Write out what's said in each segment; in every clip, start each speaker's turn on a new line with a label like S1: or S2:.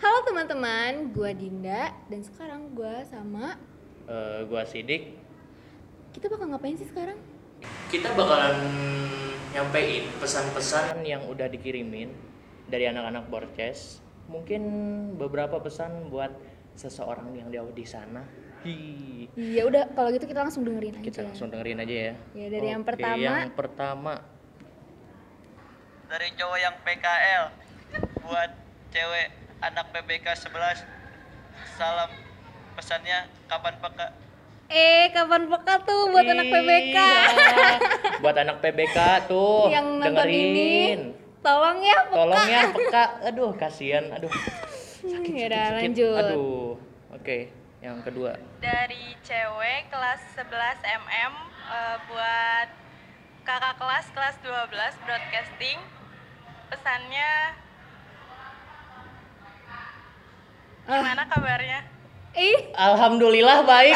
S1: Halo teman-teman, gua Dinda dan sekarang gua sama
S2: Eh, gua sidik
S1: kita bakal ngapain sih sekarang?
S2: kita bakalan nyampein pesan-pesan yang udah dikirimin dari anak-anak Borces mungkin beberapa pesan buat seseorang yang jauh di sana Hi.
S1: Iya udah kalau gitu kita langsung dengerin aja.
S2: kita langsung dengerin aja ya
S1: Ya, dari yang
S2: Oke,
S1: pertama.
S2: yang pertama
S3: dari cowok yang PKL buat cewek anak PBK 11 salam pesannya kapan peka
S1: Eh, kapan peka tuh buat anak PBK?
S2: Iya. buat anak PBK tuh
S1: Yang nonton
S2: Oh, dengerin
S1: ini tolong ya peka.
S2: tolong ya peka aduh kasihan aduh
S1: Hmm, ya udah
S2: Sakit.
S1: lanjut.
S2: aduh oke yang kedua
S4: dari cewek kelas 11 MM eh, buat kakak kelas kelas 12 broadcasting pesannya
S1: Ah.
S4: gimana kabarnya
S1: Ih,
S2: Alhamdulillah baik.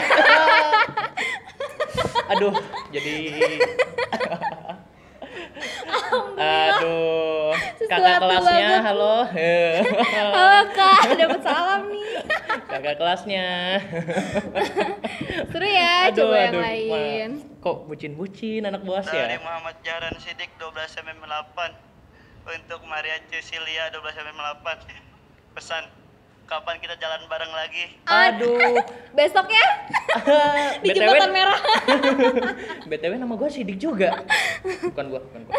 S2: Aduh, jadi Aduh, kakak
S1: Sesuatu
S2: kelasnya
S1: banget.
S2: halo.
S1: halo Kak, dapat salam nih.
S2: kakak kelasnya.
S1: Seru ya, coba yang
S2: ma-
S1: lain.
S2: Kok bucin-bucin anak bos
S3: dari
S2: ya?
S3: Muhammad Jaran Sidik 12 8 untuk Maria Cecilia 12 8 pesan kapan kita jalan bareng lagi
S1: Ah.
S2: Aduh.
S1: Besoknya di jembatan merah.
S2: BTW nama gue Sidik juga. Bukan gua, bukan gua.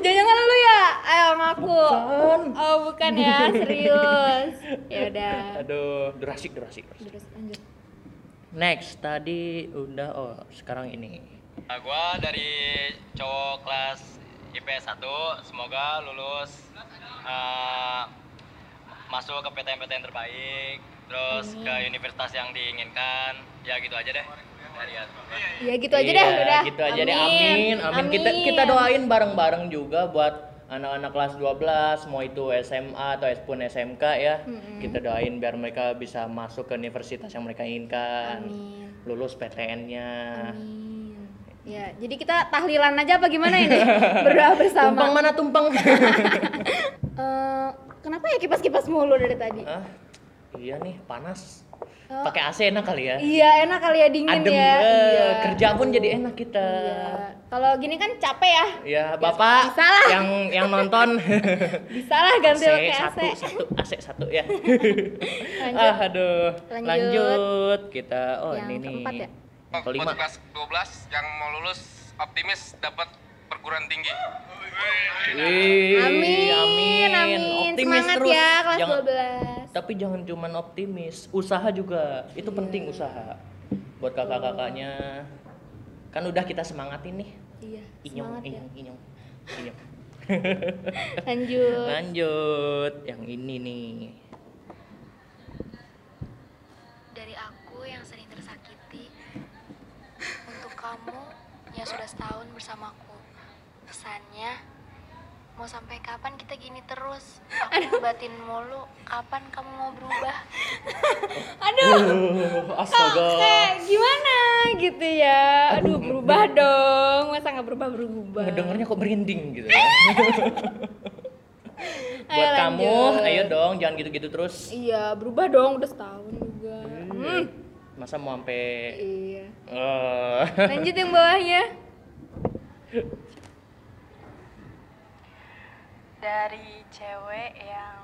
S1: Jangan-jangan lu ya? Ayo sama aku.
S2: Bukan.
S1: Oh, bukan ya, serius. Ya udah.
S2: Aduh, durasik, durasik.
S1: Terus lanjut.
S2: Next, tadi udah oh, sekarang ini.
S5: Nah, gua dari cowok kelas IPS 1, semoga lulus eh, masuk ke PTN-PTN terbaik, terus ke universitas yang diinginkan. Ya gitu aja deh. Dari gua.
S1: Ya gitu aja deh,
S2: Iya,
S1: udah.
S2: Gitu aja deh. Amin. Amin. Kita kita doain bareng-bareng juga buat anak-anak kelas 12 mau itu SMA atau pun SMK ya. Kita doain biar mereka bisa masuk ke universitas yang mereka inginkan.
S1: Amin.
S2: Lulus PTN-nya.
S1: Amin. Ya, jadi kita tahlilan aja apa gimana ini? Berdoa
S2: Tumpeng
S1: bersama.
S2: mana tumpeng?
S1: Eh, kenapa ya kipas-kipas mulu dari tadi?
S2: Hah? iya nih, panas.
S1: Oh.
S2: Pakai AC enak kali ya.
S1: Iya, enak kali ya dingin
S2: Adem.
S1: ya.
S2: eh,
S1: Iya.
S2: Kerja pun jadi enak kita.
S1: Iya. Kalau gini kan capek ya.
S2: Ya, Bapak
S1: bisa lah.
S2: yang yang nonton
S1: Bisa lah ganti
S2: AC
S1: pakai AC.
S2: satu Ah, satu AC satu ya.
S1: Lanjut.
S2: Ah, aduh.
S1: Lanjut.
S2: Lanjut. Kita oh
S1: Yang
S2: ini
S1: keempat
S2: nih.
S1: ya?
S2: Yang kelima.
S6: Buat kelas 12 yang mau lulus optimis dapat perguruan tinggi.
S2: Wih,
S1: Amin, amin,
S2: eh, Optimis
S1: Semangat
S2: terus.
S1: ya kelas
S2: Jangan-
S1: 12.
S2: Tapi jangan cuman optimis, usaha juga. Itu
S1: Iya.
S2: penting usaha. Buat kakak-kakaknya. Kan udah kita semangatin nih.
S1: Iya,
S2: Inyong,
S1: semangat ya.
S2: inyong, inyong. Inyong. Nah.
S1: Lanjut.
S2: Lanjut, yang ini nih.
S7: dari aku yang sering tersakiti untuk kamu yang sudah setahun bersamaku. Pesannya, mau sampai kapan kita gini terus? Aku batin mulu, kapan kamu mau berubah?
S1: Aduh.
S2: Uh, astaga.
S1: Kok kayak gimana gitu ya? Aduh, berubah dong. Masa nggak berubah berubah?
S2: ngedengarnya kok branding gitu ya. buat
S1: Ayo
S2: kamu
S1: lanjut.
S2: ayo dong jangan gitu-gitu terus
S1: Iya, berubah dong. Udah setahun juga. Hmm.
S2: masa mau sampai
S1: Iya.
S2: eh,
S1: Lanjut yang bawahnya.
S4: dari cewek yang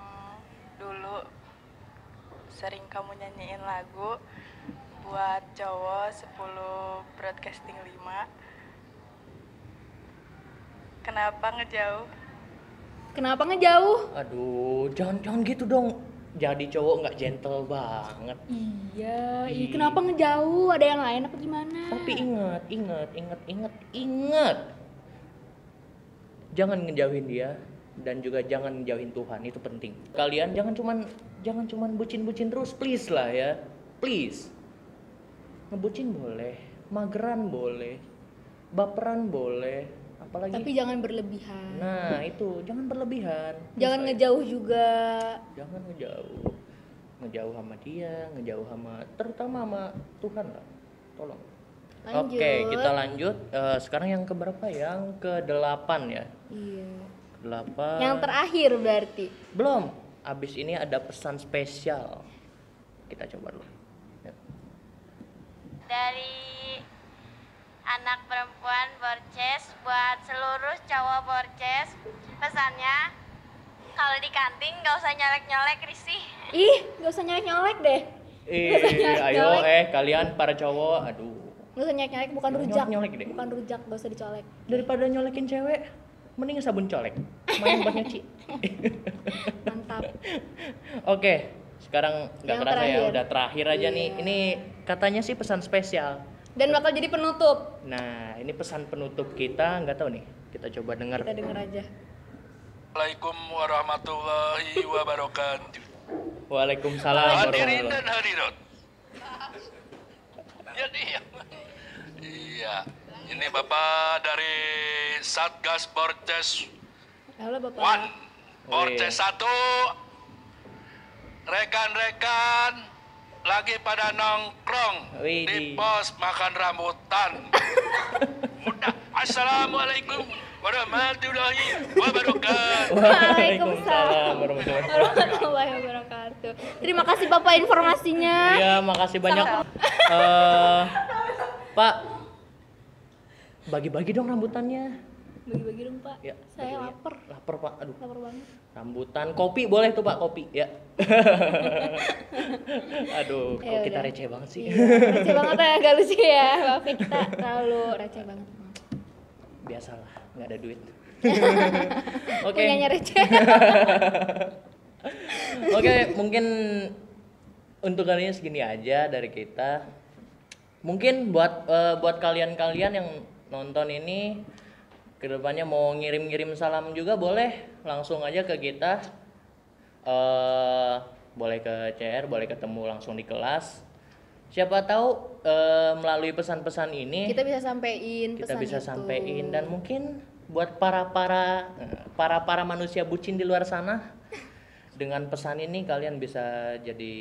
S4: dulu sering kamu nyanyiin lagu buat cowok 10 broadcasting 5 kenapa ngejauh
S1: Kenapa ngejauh?
S2: aduh jangan jangan gitu dong jadi cowok nggak gentle banget
S1: Iya, ih,
S2: Ih.
S1: kenapa ngejauh? Ada yang lain apa gimana?
S2: tapi ingat ingat ingat ingat ingat jangan ngejauhin dia dan juga jangan ngejauhin Tuhan itu penting kalian jangan cuman jangan cuman bucin-bucin terus please lah ya please ngebucin boleh mageran boleh baperan boleh apalagi
S1: Tapi jangan berlebihan.
S2: Nah itu jangan berlebihan.
S1: jangan
S2: Misalnya,
S1: ngejauh juga.
S2: Jangan ngejauh. Ngejauh sama dia, ngejauh sama terutama sama Tuhan lah. Tolong.
S1: Lanjut.
S2: Oke kita lanjut. Eh, sekarang yang keberapa? Yang ke delapan ya.
S1: Iya.
S2: Delapan.
S1: Yang terakhir berarti.
S2: Belum. Abis ini ada pesan spesial. Kita coba dulu. Ya.
S8: dari anak perempuan Borces buat seluruh cowok Borces pesannya kalau di kantin nggak usah nyolek-nyolek risih
S1: Ih, gak usah nyolek-nyolek deh.
S2: Eh, ayo eh kalian para cowok, aduh.
S1: Gak usah nyolek-nyolek, bukan
S2: Jangan
S1: rujak.
S2: nyolek-nyolek deh.
S1: Bukan rujak, gak usah dicolek.
S2: Daripada nyolekin cewek, mending sabun colek. Main buat nyuci.
S1: Mantap.
S2: Oke, sekarang nggak
S1: Yang
S2: kerasa ya
S1: terakhir.
S2: udah terakhir Iya. aja nih. Ini katanya sih pesan spesial.
S1: Dan bakal jadi penutup.
S2: Nah, ini pesan penutup kita nggak tahu nih. Kita coba dengar.
S1: Kita denger aja.
S9: Assalamualaikum warahmatullahi wabarakatuh.
S2: Waalaikumsalam
S9: Hadirin dan
S2: warahmatullahi.
S9: hadirat. Ya diam. Iya. Ini Bapak dari Satgas Borces
S1: Halo Bapak.
S9: One,
S2: Oh,
S9: Borces satu. Rekan-rekan lagi pada nongkrong
S2: Widih.
S9: di pos makan rambutan. Udah. Assalamualaikum warahmatullahi wabarakatuh.
S1: Waalaikumsalam
S2: warahmatullahi wabarakatuh.
S1: warahmatullahi wabarakatuh. Terima kasih Bapak informasinya.
S2: Iya, makasih banyak. Eh, Pak, bagi-bagi dong rambutannya.
S1: Bagi-bagi dong Pak.
S2: Ya,
S1: Saya
S2: bagi-bagi.
S1: lapar.
S2: Lapar Pak, aduh.
S1: Lapar banget.
S2: Rambutan, kopi boleh tuh Pak, kopi ya. aduh, kok
S1: Ya
S2: kita
S1: udah.
S2: receh banget sih.
S1: Iya, receh banget ya, gak lucu ya. Maaf ya, kita terlalu receh banget.
S2: Biasalah, nggak ada duit.
S1: Oke.
S2: Oke.
S1: Punyanya receh.
S2: Oke, mungkin untuk kali ini segini aja dari kita. Mungkin buat eh, buat kalian-kalian yang nonton ini kedepannya mau ngirim-ngirim salam juga boleh langsung aja ke kita. eh boleh ke CR, boleh ketemu langsung di kelas. Siapa tahu eh, melalui pesan-pesan ini
S1: Kita bisa sampein pesan
S2: kita bisa
S1: itu.
S2: sampein dan mungkin buat para para para para manusia bucin di luar sana dengan pesan ini kalian bisa jadi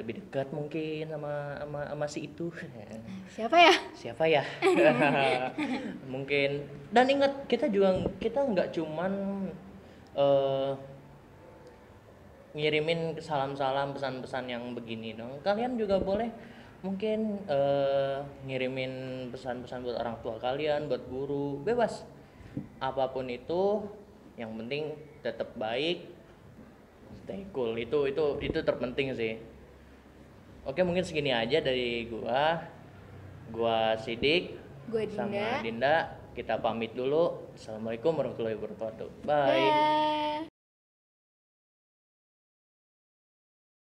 S2: lebih dekat mungkin sama sama, sama si itu
S1: Siapa ya?
S2: siapa ya mungkin dan ingat kita juga kita nggak cuman eh, ngirimin salam-salam pesan-pesan yang begini dong kalian juga boleh mungkin eh, ngirimin pesan-pesan buat orang tua kalian buat guru bebas apapun itu yang penting tetap baik stay cool itu itu itu terpenting sih oke mungkin segini aja dari gua gua sidik
S1: Gue
S2: sama
S1: Dinda.
S2: Dinda kita pamit dulu assalamualaikum warahmatullahi wabarakatuh bye.
S1: Bye.